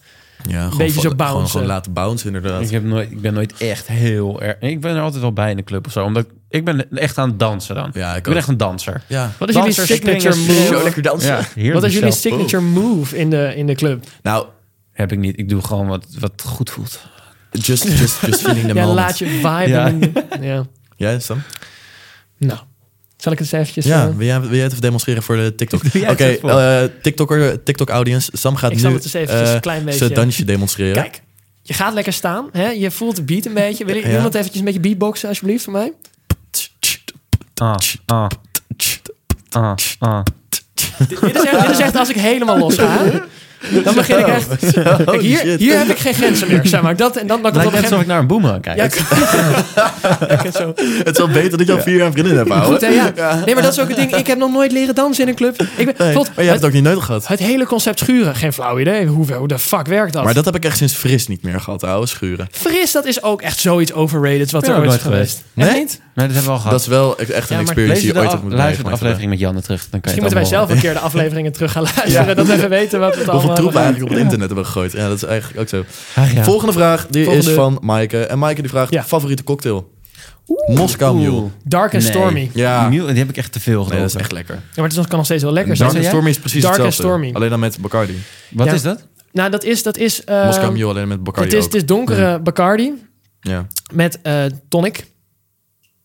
D: Ja, gewoon
A: beetje zo
D: van- gewoon-
A: bouncen.
D: Gewoon laten bouncen, inderdaad.
B: Ik, heb nooit, ik ben nooit echt heel erg... Ik ben er altijd wel bij in de club of zo. Omdat ik, ik ben echt aan het dansen dan.
D: Ja, ik
B: ik ben
D: ook.
B: echt een danser.
D: Ja.
A: Wat is
B: Dansers,
A: jullie signature
B: springers,
A: move?
D: Zo lekker dansen.
B: Ja, heerlijk
A: Wat is jullie
B: zelf.
A: signature move in de, in de club?
D: Nou,
B: Heb ik niet. Ik doe gewoon wat, wat goed voelt.
D: just, just, just feeling the
A: Ja,
D: moment.
A: laat je vibe.
B: Ja.
A: Ja.
D: Jij, Sam?
A: Nou, zal ik het eens eventjes...
D: Ja,
A: eh,
D: wil jij, wil jij het even demonstreren voor de TikTok? Oké,
B: jij het even voor.
D: eh, TikToker, TikTok-audience. Sam gaat
A: Ik
D: nu
A: zal het eens eventjes
D: eh,
A: een klein beetje-
D: zijn dansje demonstreren.
A: Kijk, je gaat lekker staan. Hè? Je voelt de beat een beetje. Wil je
D: Ja.
A: iemand eventjes een beetje beatboxen alsjeblieft voor mij?
B: Ah, ah, ah, ah.
A: dit, is echt, dit is echt als ik helemaal los ga. Dan begin ik echt... Kijk, hier,
D: shit.
A: hier heb ik geen grenzen meer, zeg maar. Dat, en dan, dan komt
B: Lijkt
A: op een
B: net alsof
A: gegeven
B: ik naar een boemerang kijk.
A: moment... Ja,
D: Het is wel beter dat je al vier jaar een vriendin hebt, ouwe.
A: Goed, hè, ja. Nee, maar dat is ook het ding. Ik heb nog nooit leren dansen in een club. Ik ben,
D: Nee,
A: tot-
D: maar jij hebt
A: het,
D: het ook niet nodig gehad.
A: het hele concept schuren, geen flauw idee. Hoe, hoe de fuck werkt dat?
D: Maar dat heb ik echt sinds fris niet meer gehad, ouwe, schuren.
A: Fris, dat is ook echt zoiets overrated wat
B: Ben
A: er
B: ook
A: ooit is
B: nooit
A: geweest.
D: geweest.
A: Echt
D: Nee?
A: niet?
B: Nee, dat hebben we al gehad.
D: Dat is wel echt echt
A: Ja,
D: een experience
A: maar
B: Luister
D: die je
B: de,
D: ooit
B: af-
D: hebt moeten
B: luister de
D: meemaken.
B: aflevering met Janne terug. Dan kan je
A: Misschien moeten wij
B: het
A: zelf
B: allemaal
A: een keer de afleveringen terug gaan luisteren. Dat we even weten wat het
D: Hoeveel
A: allemaal... eh,
D: troep we eigenlijk op het internet hebben gegooid. Ja, dat is eigenlijk ook zo.
B: horen. Ah, ja.
D: Volgende vraag, die
A: Volgende.
D: is van Maaike. En Maaike die vraagt,
A: Ja.
D: favoriete cocktail? Moskou Mule.
B: Oeh.
A: Dark and
B: Nee.
A: Stormy. Ja,
D: Ja,
B: Mule, die heb ik echt te veel
D: Nee,
B: gedronken.
D: dat is echt lekker.
A: maar het is- kan nog steeds wel lekker
D: Dark and
A: zijn.
B: jij?
D: Stormy is precies
A: Dark and
D: hetzelfde.
A: Stormy.
D: Alleen dan met Bacardi.
B: Wat
A: Ja.
B: is dat?
D: Mm,
A: Nou, dat is... Dat is eh,
D: Moskou Mule alleen met Bacardi
A: het, is,
D: ook. Mm.
A: het is donkere Bacardi
D: Ja.
A: met eh, tonic.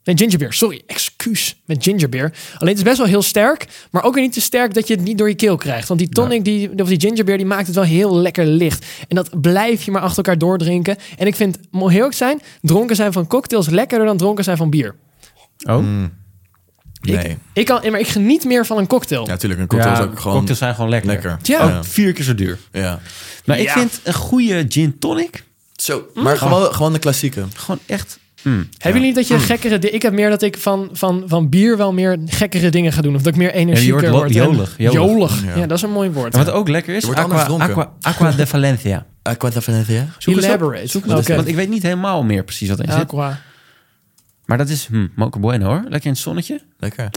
A: Nee, gingerbeer. Sorry, excuus. Met gingerbeer. Alleen het is best wel heel sterk. Maar ook weer niet te sterk dat je het niet door je keel krijgt. Want die tonic die, of die gingerbeer die maakt het wel heel lekker licht. En dat blijf je maar achter elkaar doordrinken. En ik vind, moet heel erg zijn, dronken zijn van cocktails lekkerder dan dronken zijn van bier.
B: Oh,
D: Nee.
A: Ik kan, maar ik geniet meer van een cocktail.
D: Ja, natuurlijk. Een cocktail is ook gewoon
B: cocktails zijn gewoon lekker.
D: lekker.
A: Ja.
B: Ook vier keer zo duur.
D: Ja.
B: Maar ik vind een goede gin tonic
D: Zo. Maar gewoon, gewoon de klassieke.
B: gewoon echt...
A: Hebben jullie niet dat je gekkere... di- Ik heb meer dat ik van, van, van bier wel meer gekkere dingen ga doen. Of dat ik meer energieker
B: wordt lo-
A: word. en-
B: jolig, jolig.
A: Jolig. Ja.
D: Ja.
A: dat is een mooi woord.
B: En wat ook lekker is,
D: Je wordt anders
B: aqua,
D: dronken.
B: aqua, aqua de Valencia.
D: Aquanta Venetia?
B: Zoek eens op.
A: Elaborate.
B: Zoek eens op,
A: Oké.
B: Want ik weet niet helemaal meer precies wat erin zit.
A: Aqua.
B: Maar dat is hm, Mocha Bueno hoor. Lekker in het zonnetje.
D: Lekker.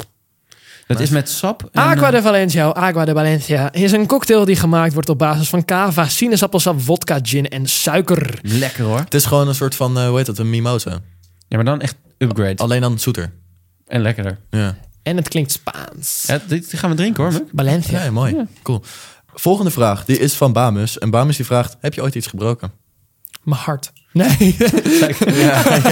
B: Dat is met sap. En,
A: Aqua
B: eh,
A: de Valencia, of Aqua de Valencia, is een cocktail die gemaakt wordt op basis van cava, sinaasappelsap, vodka, gin en suiker.
B: Lekker hoor.
D: Het is gewoon een soort van, eh, hoe heet dat, een mimosa.
B: Ja, maar dan echt upgrade.
D: Alleen dan zoeter.
B: En lekkerder.
D: Ja.
A: En het klinkt Spaans.
B: Ja, dit gaan we drinken hoor. Muk.
A: Valencia.
D: Ja, mooi. Cool. Volgende vraag, die is van Bamus. En Bamus die vraagt, heb je ooit iets gebroken?
A: Mijn hart. Nee.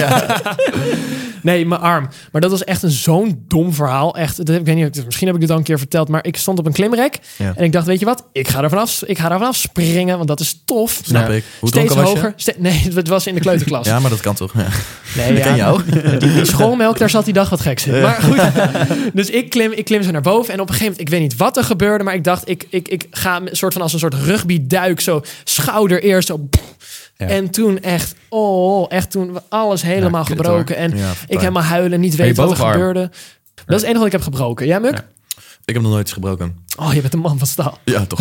A: nee, mijn arm. Maar dat was echt een zo'n dom verhaal. Echt, dat heb, ik weet niet, misschien heb ik dit al een keer verteld, maar ik stond op een klimrek.
D: Ja.
A: En ik dacht, weet je wat? Ik ga er vanaf, ik ga er vanaf springen, want dat is tof.
D: Snap ik. Hoe
A: Steeds
D: dronken was je?
A: hoger. ste- nee, het was in de kleuterklas.
D: Ja, maar dat kan toch? Ja.
A: nee,
D: Dat ken je
A: ja.
D: ook.
A: Die, die schoolmelk, daar zat die dag wat geks in. Maar goed, dus ik klim, ik klim zo naar boven. En op een gegeven moment, ik weet niet wat er gebeurde... maar ik dacht, ik, ik, ik ga een soort van als een soort rugbyduik... zo schouder eerst, zo... En toen echt, oh, echt toen alles helemaal
B: kut,
A: gebroken. En
D: Ja,
A: ik
D: fijn.
A: helemaal huilen, niet
B: je
A: weten wat er
B: bovenarm?
A: gebeurde. Dat is het enige wat ik heb gebroken. Jij, Muk?
D: Ik heb nog nooit iets gebroken.
A: Oh, je bent een man van staal.
D: Ja, toch.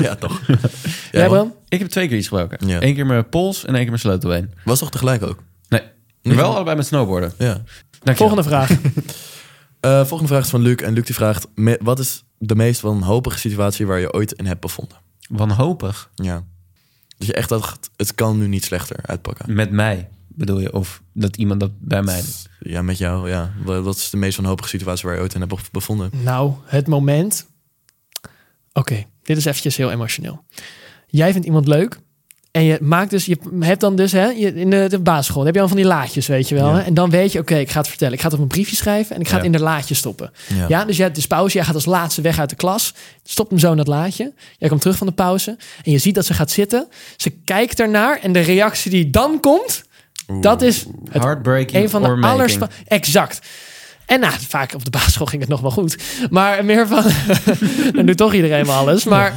D: ja, toch. Ja,
A: Jij,
D: man.
A: Bram?
B: Ik heb twee keer iets gebroken.
D: Ja.
B: Eén keer mijn pols en één keer mijn sleutelbeen.
D: Was toch tegelijk ook?
B: Nee, wel allebei met snowboarden.
D: Ja.
B: Dankjewel.
A: Volgende vraag.
D: Eh, volgende vraag is van Luc. En Luc die vraagt, me- wat is de meest wanhopige situatie waar je ooit in hebt bevonden?
B: Wanhopig.
D: Ja. Dus je echt dacht, het kan nu niet slechter uitpakken.
B: Met mij bedoel je? Of dat iemand dat bij mij doet?
D: Ja, met jou, ja. Wa- Wat is de meest wanhopige situatie waar je ooit in hebt bev- bevonden?
A: Nou, het moment. Oké, dit is eventjes heel emotioneel. Jij vindt iemand leuk. En je maakt dus, je hebt dan dus, hè, je, in de, de basisschool dan heb je al van die laadjes, weet je wel.
D: Ja.
A: Hè? En dan weet je, oké, ik ga het vertellen. Ik ga het op een briefje schrijven en ik ga het
D: Ja.
A: in de laadje stoppen. Ja.
D: Ja.
A: dus jij hebt dus pauze. Jij gaat als laatste weg uit de klas. Stopt hem zo in dat laadje. Jij komt terug van de pauze. En je ziet dat ze gaat zitten. Ze kijkt ernaar en de reactie die dan komt, dat is het
B: Heartbreaking
A: een van de
B: or
A: allers...
B: making.
A: Exact. En nou, vaak op de basisschool ging het nog wel goed. Maar meer van... dan doet toch iedereen wel alles. Maar...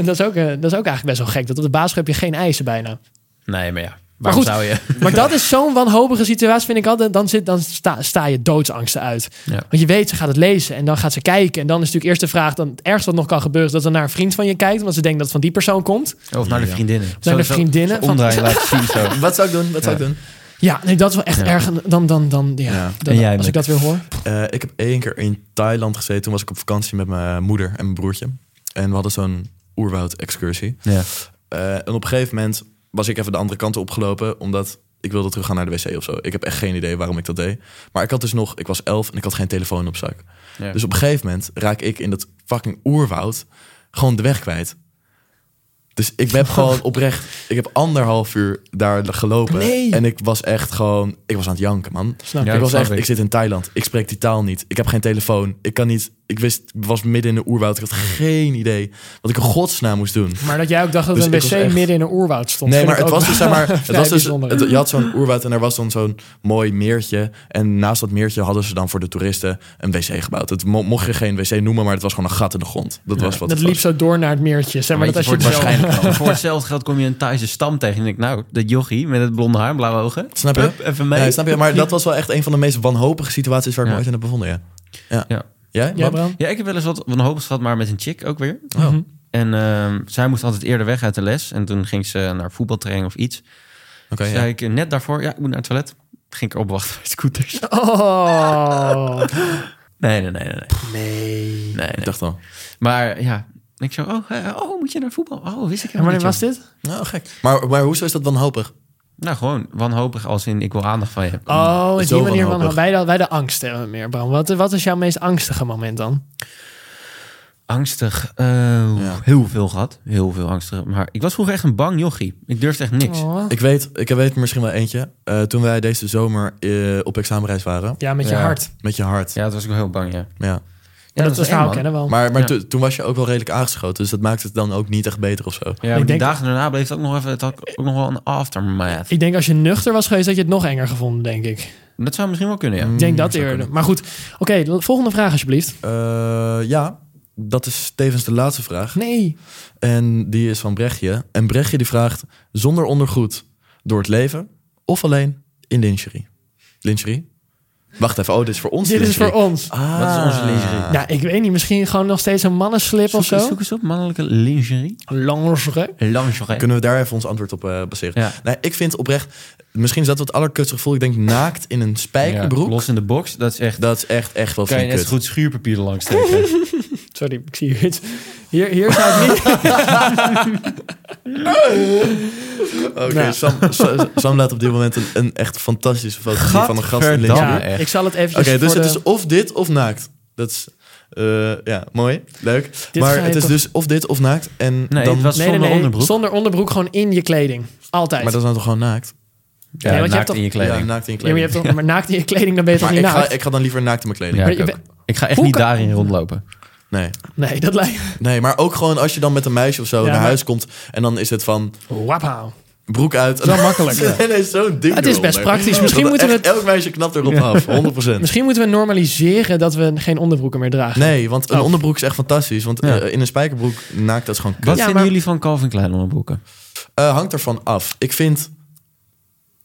A: dat, is ook, eh, dat is ook eigenlijk best wel gek. Dat op de basisschool heb je geen eisen bijna.
B: Nee, maar ja. Waarom
A: goed.
B: zou je...
A: Maar dat is zo'n wanhopige situatie, vind ik altijd. Dan, zit, dan sta, sta je doodsangsten uit.
B: Ja.
A: Want je weet, ze gaat het lezen en dan gaat ze kijken. En dan is natuurlijk eerst de vraag, dan, het ergste wat nog kan gebeuren... is dat ze naar een vriend van je kijkt. Want ze denkt dat het van die persoon komt.
B: Of naar de vriendinnen. Naar
A: de vriendinnen van-
B: Omdraaien, laten zien zo.
D: Wat zou ik doen? Wat zou ik doen?
A: Ja, nee, dat is wel echt
B: Ja.
A: erg. Dan, dan, dan, ja.
D: Ja.
A: Dan-
B: En jij,
A: als ik
B: Mick?
A: dat weer hoor.
D: Eh, ik heb één keer in Thailand gezeten. Toen was ik op vakantie met mijn moeder en mijn broertje. En we hadden zo'n oerwoud-excursie.
B: Ja.
D: Eh, en op een gegeven moment was ik even de andere kant opgelopen, omdat ik wilde terug gaan naar de wc of zo. Ik heb echt geen idee waarom ik dat deed. Maar ik had dus nog, ik was elf en ik had geen telefoon op zak.
B: Ja.
D: Dus op een gegeven moment raak ik in dat fucking oerwoud gewoon de weg kwijt. Dus ik heb gewoon oprecht, ik heb anderhalf uur daar gelopen. En ik was echt gewoon, ik was aan het janken, man.
A: Snap
B: Ja,
D: ik
B: dat
D: was
B: snap
D: echt,
B: ik.
D: ik zit in Thailand, ik spreek die taal niet, ik heb geen telefoon, ik kan niet, ik wist, ik was midden in de oerwoud, ik had geen idee wat ik in godsnaam moest doen.
A: Maar dat jij ook dacht dat
D: Dus
A: een
D: ik
A: wc
D: was echt-
A: midden in een oerwoud stond.
D: Nee,
A: vind
D: maar
A: ik
D: het
A: ook
D: was dus, zeg maar, het
A: vrij
D: was dus,
A: bijzonder.
D: het- je had zo'n oerwoud en er was dan zo'n mooi meertje. En naast dat meertje hadden ze dan voor de toeristen een wc gebouwd. Het mo- mocht je geen wc noemen, maar het was gewoon een gat in de grond. Dat was wat
A: dat
D: het
A: liep
D: was.
A: zo door naar het meertje. Zeg
B: Maar
A: maar dat als je
B: voor,
A: het zo-
B: waarschijnlijk wel. voor hetzelfde geld kom je een Thaise stam tegen. En denk ik, nou, dat jochie met het blonde haar, blauwe ogen.
D: Snap je?
B: Hup, even mee.
D: Ja, snap je? Maar dat was wel echt een van de meest wanhopige situaties waar ik me
B: Ja.
D: ooit in heb bevonden, ja. Ja.
B: Ja.
D: Jij?
A: Ja,
D: Bram?
A: Bram?
B: Ja, ik heb wel eens wat wanhopig gehad, maar met een chick ook weer.
D: Oh.
B: En ehm, zij moest altijd eerder weg uit de les. En toen ging ze naar voetbaltraining of iets.
D: Oké,
B: zei
D: ja.
B: ik eh, net daarvoor, ja, ik moet naar het toilet. Ging ik opwachten bij scooters.
A: Oh.
B: Nee, nee, nee, nee. Nee. nee,
D: Ik
B: nee.
D: dacht al.
B: Maar ja, ik zo, oh, eh, oh, moet je naar voetbal? Oh, wist ik
A: En
B: helemaal
A: wanneer
B: niet,
A: was
B: joh.
A: dit?
D: Nou, gek. Maar, maar hoezo is dat wanhopig?
B: Nou, gewoon wanhopig als in, ik wil aandacht van je.
A: Oh, is die
D: Zo
A: manier van...
D: wanhopig.
A: Wij de, wij de angst hebben meer, Bram. Wat, wat is jouw meest angstige moment dan?
B: Angstig. eh,
D: Ja.
B: Heel veel gehad. Heel veel angstig. Maar ik was vroeger echt een bang jochie. Ik durfde echt niks.
A: Oh.
D: Ik weet, ik weet er misschien wel eentje. Eh, toen wij deze zomer eh, op examenreis waren,
A: Ja, met je
B: Ja.
A: hart.
D: met je hart. Ja.
B: Ja, dat was ik wel heel bang, ja. Ja,
A: dat, was verhaal
B: eng, man.
A: kennen we al.
D: Maar, maar
B: Ja.
D: to- toen was je ook wel redelijk aangeschoten, dus dat maakt het dan ook niet echt beter of zo.
B: Ja, maar die
A: denk-
B: dagen daarna bleef het ook nog even... Het had ook nog wel een aftermath.
A: Ik denk als je nuchter was geweest, had je het nog enger gevonden, denk ik.
B: Dat zou misschien wel kunnen, ja.
A: Ik
D: Hmm,
A: denk dat eerder. Maar goed, oké, de volgende vraag alsjeblieft.
D: Eh, ja, dat is tevens de laatste vraag.
A: Nee.
D: En die is van Brechtje. En Brechtje die vraagt, zonder ondergoed door het leven of alleen in lingerie? Lingerie? Wacht even, oh, dit is voor ons
A: Dit is
D: lingerie.
A: voor ons.
D: Ah.
B: Wat is onze lingerie?
A: Ja, ik weet niet. Misschien gewoon nog steeds een mannenslip
B: Zoek,
A: of zo.
B: zoek eens op, mannelijke lingerie.
A: Lingerie.
B: Lingerie.
D: Kunnen we daar even ons antwoord op eh, baseren?
B: Ja.
D: Nee, ik vind oprecht, misschien is dat het allerkutste gevoel. Ik denk naakt in een spijkerbroek.
B: Ja, los in de box, dat is echt...
D: Dat is echt, echt wel
B: kan je
D: veel
B: net zo
D: kut.
B: goed schuurpapier langs trekken.
A: Sorry, ik zie iets. Hier, hier zou ik niet...
D: Oké,
A: Ja.
D: Sam, Sa- Sam laat op dit moment een, een echt fantastische foto zien van een gast in
B: Gadverdamme.
D: lingerie.
A: Ja,
B: Ja, echt.
A: ik zal het even.
D: Oké, dus het is of dit of naakt. Dat is, eh, ja, mooi, leuk.
A: Dit ga
D: maar
A: je
D: het is
A: toch-
D: dus of dit of naakt. En
B: Nee,
D: dan,
B: het was
A: nee,
B: zonder
A: nee, nee,
B: onderbroek.
A: Zonder onderbroek gewoon in je kleding. Altijd.
D: Maar dat is nou toch gewoon naakt?
B: Ja,
A: Nee, want je
B: naakt
A: hebt toch-
B: in je
D: Ja,
B: kleding.
D: naakt in je
A: ja, maar, je
D: kleding.
A: hebt toch, maar naakt in je kleding, dan ben je toch
D: maar
A: niet
D: ik ga,
A: naakt?
D: ik ga dan liever naakt in mijn kleding.
B: Ja,
A: Maar
B: ik,
A: je
B: ook.
A: bent-
B: ik ga echt
A: Hoe
B: niet
A: kan-
B: daarin rondlopen.
D: Nee.
A: Nee, dat lijkt...
D: nee, maar ook gewoon als je dan met een meisje of zo
A: Ja,
D: naar
A: maar-
D: huis komt... en dan is het van
A: Wapau.
D: broek uit.
A: Zo makkelijk.
D: nee, nee, zo'n ding
A: Het is best
D: eronder.
A: praktisch. Misschien
D: Dat
A: moeten, we
D: echt
A: het,
D: Elk meisje knapt erop af, 100%.
A: misschien moeten we normaliseren dat we geen onderbroeken meer dragen.
D: Nee, want een
A: Oh.
D: onderbroek is echt fantastisch. Want
B: Ja.
D: eh, in een spijkerbroek naakt dat is gewoon kut.
B: Wat
A: Ja,
B: vinden
A: maar-
B: jullie van Calvin Klein onderbroeken?
D: Eh, hangt ervan af. Ik vind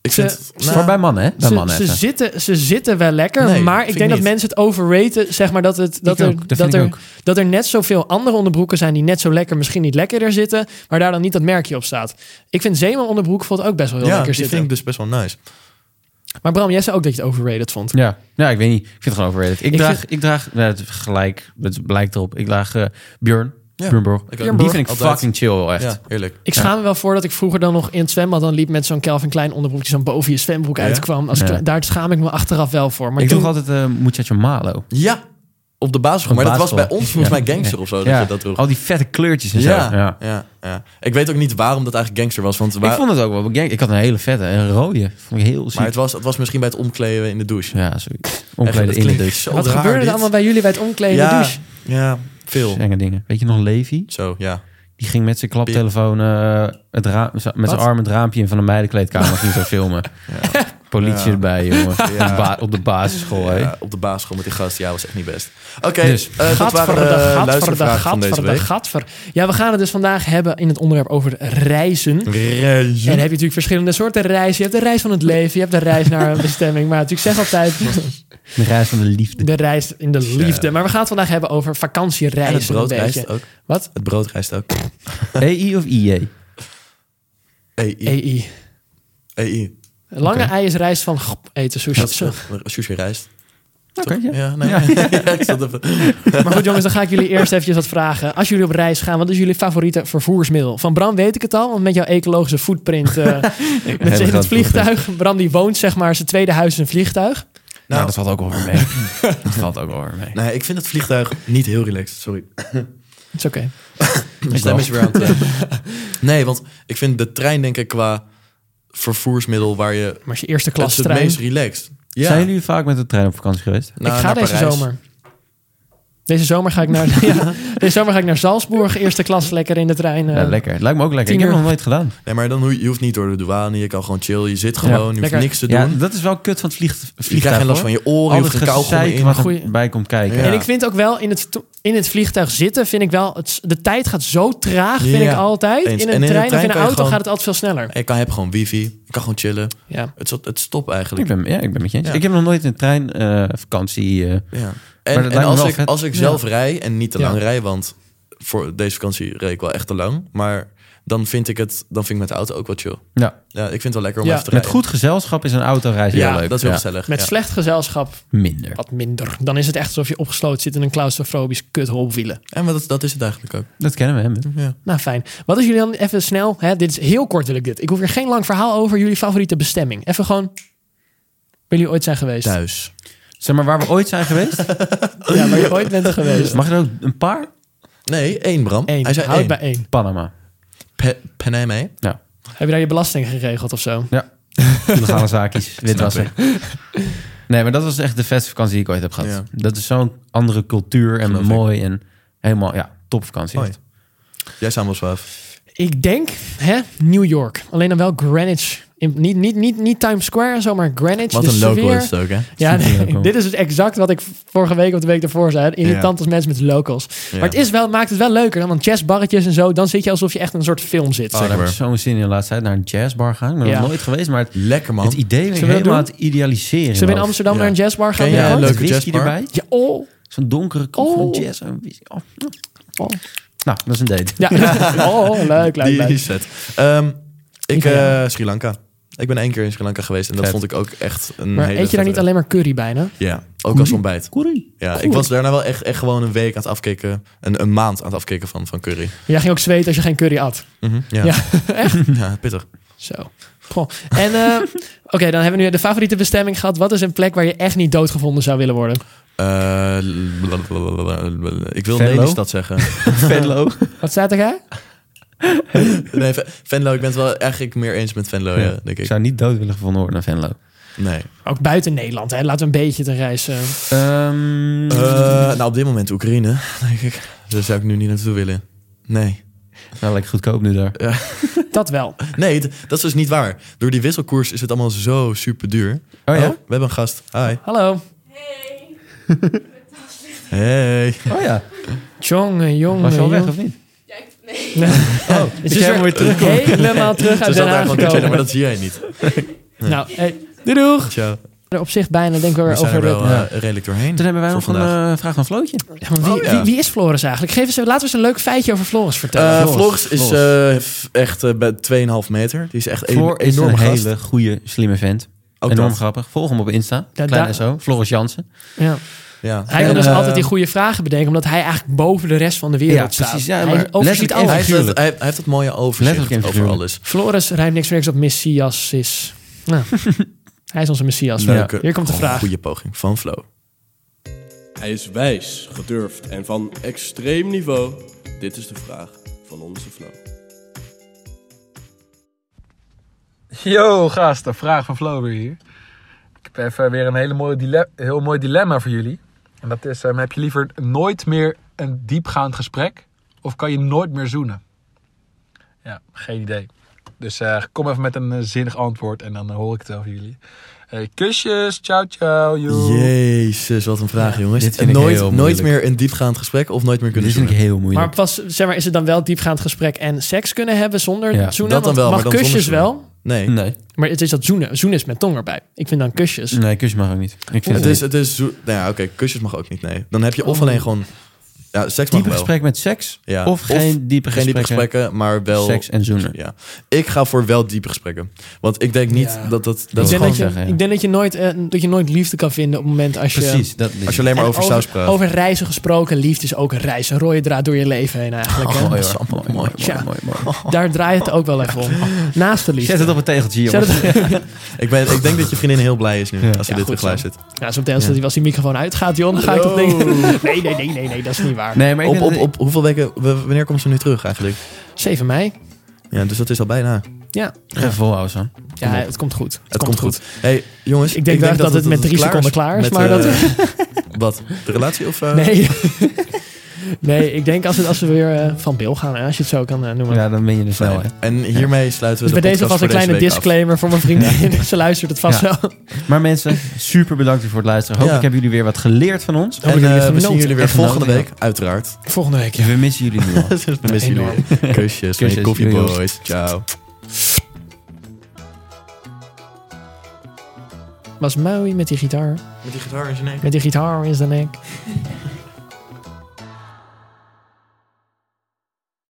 D: Ik
A: Ze-
D: vind het- nou,
B: maar bij mannen, hè? Bij
A: Ze,
B: mannen
A: ze
B: even.
A: zitten, ze zitten wel lekker,
D: Nee,
A: maar
D: vind
A: ik
D: ik
A: denk dat
D: niet.
A: mensen het overraten. Zeg maar dat, het, dat,
B: Ik
A: er,
B: ook, dat vind
A: dat,
B: ik
A: er,
B: ook.
A: dat er net zoveel andere onderbroeken zijn die net zo lekker, misschien niet lekkerder zitten, maar daar dan niet dat merkje op staat. Ik vind Zeeman onderbroek vond ook best wel heel
D: ja,
A: lekker
D: die
A: zitten.
D: vind ik dus best wel nice.
A: Maar Bram, jij zei ook dat je het overrated vond.
B: Ja. ja, ik weet niet. Ik vind het gewoon overrated. Ik,
A: Ik
B: draag, ik draag nou, het is gelijk, het blijkt erop. Ik draag eh Björn.
D: Ja.
B: Björnborg.
D: Ik
A: ook.
B: Die vind ik
D: Altijd.
B: fucking chill, echt.
D: Ja, eerlijk.
A: Ik schaam me wel voor dat ik vroeger dan nog in het zwembad dan liep met zo'n Calvin Klein onderbroek die zo'n boven je zwembroek
D: Ja?
A: uitkwam. Als ik-
B: Ja.
A: daar schaam ik me achteraf wel voor. Maar
B: ik
A: toen,
B: droeg altijd eh Muchacho Malo.
D: Ja, op de basisschool.
B: Op
D: Maar dat was bij
B: basisschool.
D: ons volgens
B: Ja.
D: mij gangster of zo. Dat je dat droeg.
B: al die vette kleurtjes en
D: Ja,
B: zo. Ja.
D: ja. Ja, Ik weet ook niet waarom dat eigenlijk gangster was. Want
B: Ik
D: waar-
B: vond het ook wel. gang- Ik had een hele vette, een rode. Vond ik heel ziek.
D: maar het was, het was misschien bij het omkleden in de douche.
B: Ja, zoiets.
D: Echt,
B: Omkleden
D: dat
B: in de
D: klinkt
B: douche.
D: zo
A: wat
D: raar,
A: gebeurde er
D: dit.
A: allemaal bij jullie bij het omkleden in de
D: Ja. eh,
A: douche?
D: Ja, veel.
B: Enge dingen. Weet je nog Levi?
D: Zo, ja.
B: Die ging met zijn klaptelefoon eh, het raam, met zijn arm het raampje in van de meidenkleedkamer ging zo filmen. Politie
D: Ja.
B: erbij, jongen. Op, de
D: Ja.
B: ba- op de basisschool, hè.
D: Ja, op de basisschool met die gast. Ja, was echt niet best. Oké,
B: Dus,
D: eh, dat waren de luistervragen
A: Gadverdag, gadverdag,
D: van deze
A: gadverdag,
D: week.
A: gadver. Ja, we gaan het dus vandaag hebben in het onderwerp over
D: Hm.
A: reizen. En dan heb je natuurlijk verschillende soorten reizen. Je hebt de reis van het leven, je hebt de reis naar een bestemming. Maar natuurlijk zeg altijd
B: De reis van de liefde.
A: de reis in de liefde. Maar we gaan het vandaag hebben over
D: En het
A: vakantiereizen.
D: brood
A: een beetje.
D: rijst ook.
A: Wat?
D: Het brood rijst ook.
B: EI E of IE?
D: Nou, EI.
A: EI.
D: EI.
A: E Lange ei is reis van grap, eten sushi.
D: E Dat is
A: Zo.
D: eh, sushi rijst.
B: Oké, ja.
D: Ja, nee. Ja. ik zat even...
A: Maar goed jongens, dan ga ik jullie eerst eventjes wat vragen. Als jullie op reis gaan, wat is jullie favoriete vervoersmiddel? Van Bram weet ik het al, want met jouw ecologische footprint eh, met z'n- in het
B: grote
A: vliegtuig. Bram die woont zeg maar, zijn tweede huis is een vliegtuig.
B: Nou, dat valt ook over mee. dat valt ook over mee.
D: Nee, ik vind het vliegtuig niet heel relaxed. Sorry.
A: Het is oké.
D: Mijn stem is weer aan het, eh, Nee, want ik vind de trein denk ik qua vervoersmiddel waar je...
A: Maar als je eerste
D: Dat
A: klas
D: is het
A: trein.
D: meest relaxed. Ja.
B: Zijn jullie vaak met de trein op vakantie geweest?
D: Nou,
A: ik ga
D: naar
A: deze
D: Parijs.
A: zomer. Deze zomer ga ik naar, ja, deze zomer ga ik naar Salzburg, eerste klas, lekker in de trein. eh.
B: Ja, lekker. Lijkt me ook lekker.
A: tien
B: Ik heb
A: uur.
B: het nog nooit gedaan.
D: Nee, maar dan, hoe- je hoeft niet door de douane. Je kan gewoon chill. Je zit gewoon. je hoeft
A: lekker.
D: niks te doen.
B: Ja, dat is wel kut van het vlieg, vliegtuig.
D: je krijgt geen last
B: hoor.
D: van je oren. Je
B: Al het
D: hoeft geen kauwgom
B: gezeik
D: in.
B: wat
A: Goeie-
B: erbij komt kijken.
D: Ja.
A: En ik vind ook wel in het, to- in het vliegtuig zitten, vind ik wel, het, de tijd gaat zo traag, vind
D: Ja,
A: ik altijd.
D: eens. En
A: In een
D: in de
A: trein of
D: trein
A: in een
D: kan je
A: auto
D: gewoon-
A: gaat het altijd veel sneller.
D: Je kan, heb gewoon wifi. Je kan gewoon chillen.
A: Ja.
D: Het, is- het stopt
B: Ik
D: eigenlijk.
B: ben, ja, ik ben met je eens.
D: Ja.
B: Ik heb nog nooit een trein eh, vakantie. eh,
D: Ja.
B: dat
D: En,
B: lijkt
D: en
B: me
D: als,
B: wel
D: ik,
B: vet.
D: als ik
A: Ja.
D: zelf rij en niet te
A: Ja.
D: lang rij, want voor deze vakantie reed ik wel echt te lang. Maar dan vind ik het, dan vind ik met de auto ook wel chill.
B: ja.
D: Ja, ik vind het wel lekker om
A: Ja.
D: even te
B: Met
D: rijden.
B: goed gezelschap is een autoreis
A: Ja,
B: heel leuk.
D: dat is wel
B: Ja.
D: gezellig.
A: Met
D: ja.
A: slecht gezelschap
B: Minder.
A: wat minder. Dan is het echt alsof je opgesloten zit in een claustrofobisch kut holwielen.
D: En wat- dat, dat is het eigenlijk ook.
B: Dat kennen we hem.
D: Ja.
A: Nou, fijn. Wat is jullie dan even snel? Hè, dit is heel kort wil ik dit. Ik hoef hier geen lang verhaal over jullie favoriete bestemming. Even gewoon. Waar jullie ooit zijn geweest?
D: Thuis.
B: Zeg maar waar we ooit zijn geweest.
A: Ja, waar je ooit bent geweest.
B: Mag je er ook een paar?
D: Nee, één Bram.
A: Eén.
D: Hij zei
A: Houd
D: één.
A: bij één.
B: Panama.
D: Pe- Paname.
B: Ja.
A: Heb je daar je belasting geregeld of zo?
B: Ja. Illegale zaakjes. Witwassen. Nee, maar dat was echt de vetste vakantie die ik ooit heb gehad.
D: Ja.
B: Dat is zo'n andere cultuur en
D: Geloof ik.
B: mooi en helemaal, ja, topvakantie.
D: Mooi. Jij samen was af.
A: Ik denk, hè, New York. Alleen dan wel Greenwich. In- niet, niet, niet, niet Times Square en zo, maar Greenwich.
D: Wat
A: Dus
D: een local
A: weer-
D: is het ook, hè?
A: Ja,
B: Super
A: nee,
B: local.
A: dit is dus exact wat ik vorige week of de week ervoor zei. Irritant als mensen met locals. Maar het is wel, maakt het wel leuker. Want jazzbarretjes en zo, dan zit je alsof je echt in een soort film zit.
B: Oh, daar heb ik
D: Zeker.
B: zo'n zin in de laatste tijd. Naar een jazzbar gaan. Ik ben
A: Ja.
B: nog nooit geweest, maar het,
D: Lekker, man.
B: het idee
A: Zullen
B: is
A: we dat
B: helemaal aan
A: doen?
B: het idealiseren.
A: Zullen we in
B: man.
A: Amsterdam
D: Ja.
A: naar een jazzbar gaan?
D: Ken jij
B: Ja,
D: een
A: binnenkort?
B: met
D: leuke
B: whisky
D: jazzbar?
B: erbij.
A: Ja, oh,
B: Zo'n donkere kop
A: Oh.
B: van jazz. en whisky. Oh. Oh. Nou, dat is een date.
A: ja. oh leuk, leuk,
D: Die
A: leuk.
D: set. Ehm, ik,
A: Ja.
D: eh, Sri Lanka. Ik ben één keer in Sri Lanka geweest en dat
B: Vet.
D: vond ik ook echt een
A: Maar
D: hele
A: eet je daar
D: vette-
A: niet alleen maar curry bijna?
D: Ja, ook als ontbijt.
B: Koerie.
D: Ja, ik was daarna wel echt, echt gewoon een week aan het afkicken. Een, een maand aan het afkicken van, van curry. Mhm,
A: Jij ging ook zweten als je geen curry at.
D: ja.
A: Ja.
D: Ja, pittig.
A: Zo. Goh. En eh, oké, dan hebben we nu de favoriete bestemming gehad. Wat is een plek waar je echt niet doodgevonden zou willen worden?
D: Eh, blablabla. ik wil
B: Venlo?
D: Lelystad zeggen.
B: Venlo.
A: Wat staat er? hè?
D: Nee, Ven- Venlo, ik ben het wel eigenlijk meer eens met Venlo, ja, denk
B: Ik
D: ik.
B: zou niet dood willen gevonden worden naar Venlo.
D: Nee.
A: Ook buiten Nederland, hè? Laten we een beetje de reis. eh.
B: Ehm,
D: Eh, nou, op dit moment Oekraïne, denk ik. Daar zou ik nu niet naartoe willen. Nee.
B: nou, lekker goedkoop nu daar.
A: dat wel.
D: Nee, d- dat is dus niet waar. Door die wisselkoers is het allemaal zo super duur.
B: Oh ja?
D: we hebben een gast. Hi.
A: Hallo.
D: Hey.
B: Oh ja.
A: Jongen, jongen.
B: Was je al weg
A: jongen.
B: of niet?
A: Het is weer helemaal terug uit
D: Ze zat daar
A: Den Haag
D: gewoon te chillen, maar
A: gekomen.
D: dat zie jij niet.
A: Nou, hey, doei doeg.
D: Tja,
A: Er op zich bijna denk ik
D: we
A: weer
D: zijn er
A: over...
D: wel
A: de-
D: eh, redelijk doorheen.
B: Toen hebben wij
D: voor
B: nog een
D: vandaag.
B: eh, vraag van Flootje.
A: Ja, maar wie,
D: Oh, ja.
A: wie, wie is Floris eigenlijk? Geef eens, laten we eens een leuk feitje over Floris vertellen.
D: Eh,
B: Floris.
D: Floris is
B: Floris.
D: eh, f- echt eh, bij 2,5 meter. Die is echt een
B: Floor is
D: enorme
B: een
D: gast.
B: hele goede, slimme vent.
D: Ook
B: Enorm
D: dat.
B: grappig. Volg hem op Insta.
A: Ja,
B: Klein
A: daar-
B: SO. Floris Jansen.
A: ja.
D: Ja.
A: Hij wil
D: En,
A: dus
D: eh,
A: altijd die goede vragen bedenken, omdat hij eigenlijk boven de rest van de wereld
B: Ja,
A: staat.
B: precies. Ja, maar
A: hij overziet
B: letterlijk
A: alles.
D: Hij heeft, dat,
B: figuurlijk.
D: hij, hij heeft dat mooie
B: Letterlijk en
D: overzicht over
B: figuurlijk.
D: alles.
A: Floris rijmt niks voor niks op Messias is. Nou, hij is onze Messias.
D: Leuke, Oh,
A: Hier komt de vraag.
D: Goede poging van Flo.
F: Hij is wijs, gedurfd en van extreem niveau. Dit is de vraag van onze Flo.
G: Yo, gasten. Vraag van Flo weer hier. Ik heb even weer een hele mooie dile- heel mooi dilemma voor jullie. En dat is, ehm, heb je liever nooit meer een diepgaand gesprek? Of kan je nooit meer zoenen? Ja, geen idee. Dus eh, kom even met een eh, zinnig antwoord en dan eh, hoor ik het wel van jullie. Eh, kusjes, ciao, ciao, joe.
D: Jezus, wat een vraag, jongens.
B: dit
D: En
B: vind ik
D: nooit,
B: heel
D: nooit
B: moeilijk.
D: meer een diepgaand gesprek of nooit meer
B: Dit
D: kunnen
B: vind ik
D: zoenen.
B: heel
A: Maar,
B: moeilijk.
A: was, zeg maar, is het dan wel diepgaand gesprek en seks kunnen hebben zonder
B: Ja,
A: zoenen?
D: dat dan
A: Want
D: wel,
A: Mag
D: maar dan
A: kusjes
D: zonder
A: wel,
D: Nee.
B: nee.
A: maar het is dat zoenen. Zoenen is met tong erbij. Ik vind dan kusjes.
B: Nee, kusje mag ook niet. Ik vind
D: Het
B: het
D: is,
B: niet.
D: het is zo- nou ja, oké, kusjes mag ook niet, nee. Dan heb je of alleen gewoon... Ja, seks mag
B: Oh. Diepe
D: wel.
B: gesprek met seks.
D: Ja.
B: Of geen diepe
D: Geen diepe
B: gesprekken.
D: gesprekken, maar wel...
B: Seks en zoenen.
D: Ja. Ik ga voor wel diepe gesprekken. Want ik denk niet dat dat... dat
A: ik,
D: is
A: denk
D: gewoon,
A: dat je,
B: zeggen, ja.
A: ik denk dat je, nooit, eh, dat je nooit liefde kan vinden op het moment als je...
B: Precies. Dat
D: als je alleen maar
A: En
D: over saus praat.
A: Over reizen gesproken, liefde is ook een reis. Een rode draad door je leven heen eigenlijk.
D: Oh,
A: hè?
B: mooi, hoor. mooi, mooi,
A: Ja.
B: mooi, mooi, mooi.
A: Daar draait het ook wel even om. Naast de liefde.
B: Zet het op een tegeltje,
A: Zet
B: jongens.
A: het-
D: Ik, ben, ik denk dat je vriendin heel blij is nu als ze
A: Ja,
D: dit
A: goed
D: terugluistert.
A: Ja, zo meteen als- als die microfoon uitgaat, Jon, dan ga ik dat ding... Nee, nee, nee, nee, nee, dat is niet waar.
B: Nee, maar ik
D: Op, op,
B: ben-
D: op hoeveel weken... w- Wanneer komt ze nu terug eigenlijk?
A: 7 mei.
D: Ja, dus dat is al bijna.
A: Ja,
B: Even volhouden, zo.
A: ja het komt goed. Het,
D: Het komt goed. hey, jongens.
A: Ik denk wel dat het met drie seconden klaar is,
D: met,
A: maar dat-
D: eh, wat? De relatie of... eh,
A: Nee. nee, ik denk als, het, als we weer eh, van Bill gaan, hè, als je het zo kan eh, noemen.
B: Ja, dan ben je er snel, hè.
D: En hiermee sluiten we
A: Dus bij
D: de podcast
A: deze vast een
D: voor
A: kleine
D: deze week af.
A: disclaimer voor mijn vriendin. Ze luistert het vast
B: Ja.
A: wel.
B: Maar mensen, super bedankt weer voor het luisteren. Hopelijk
D: Ja.
B: hebben jullie weer wat geleerd van ons.
A: Hebben jullie
D: En eh, we zien
A: genoten?
D: jullie weer
B: En
D: volgende
B: genoten,
D: week, uiteraard.
A: Volgende week, ja.
B: We missen jullie nu al.
D: We missen
A: Enorm.
D: jullie. Kusjes van je
B: Kusjes,
D: Coffee
B: doei,
D: Boys. Ciao.
A: Was Maui met die gitaar.
D: Met die gitaar in zijn nek.
A: Met die gitaar in zijn nek.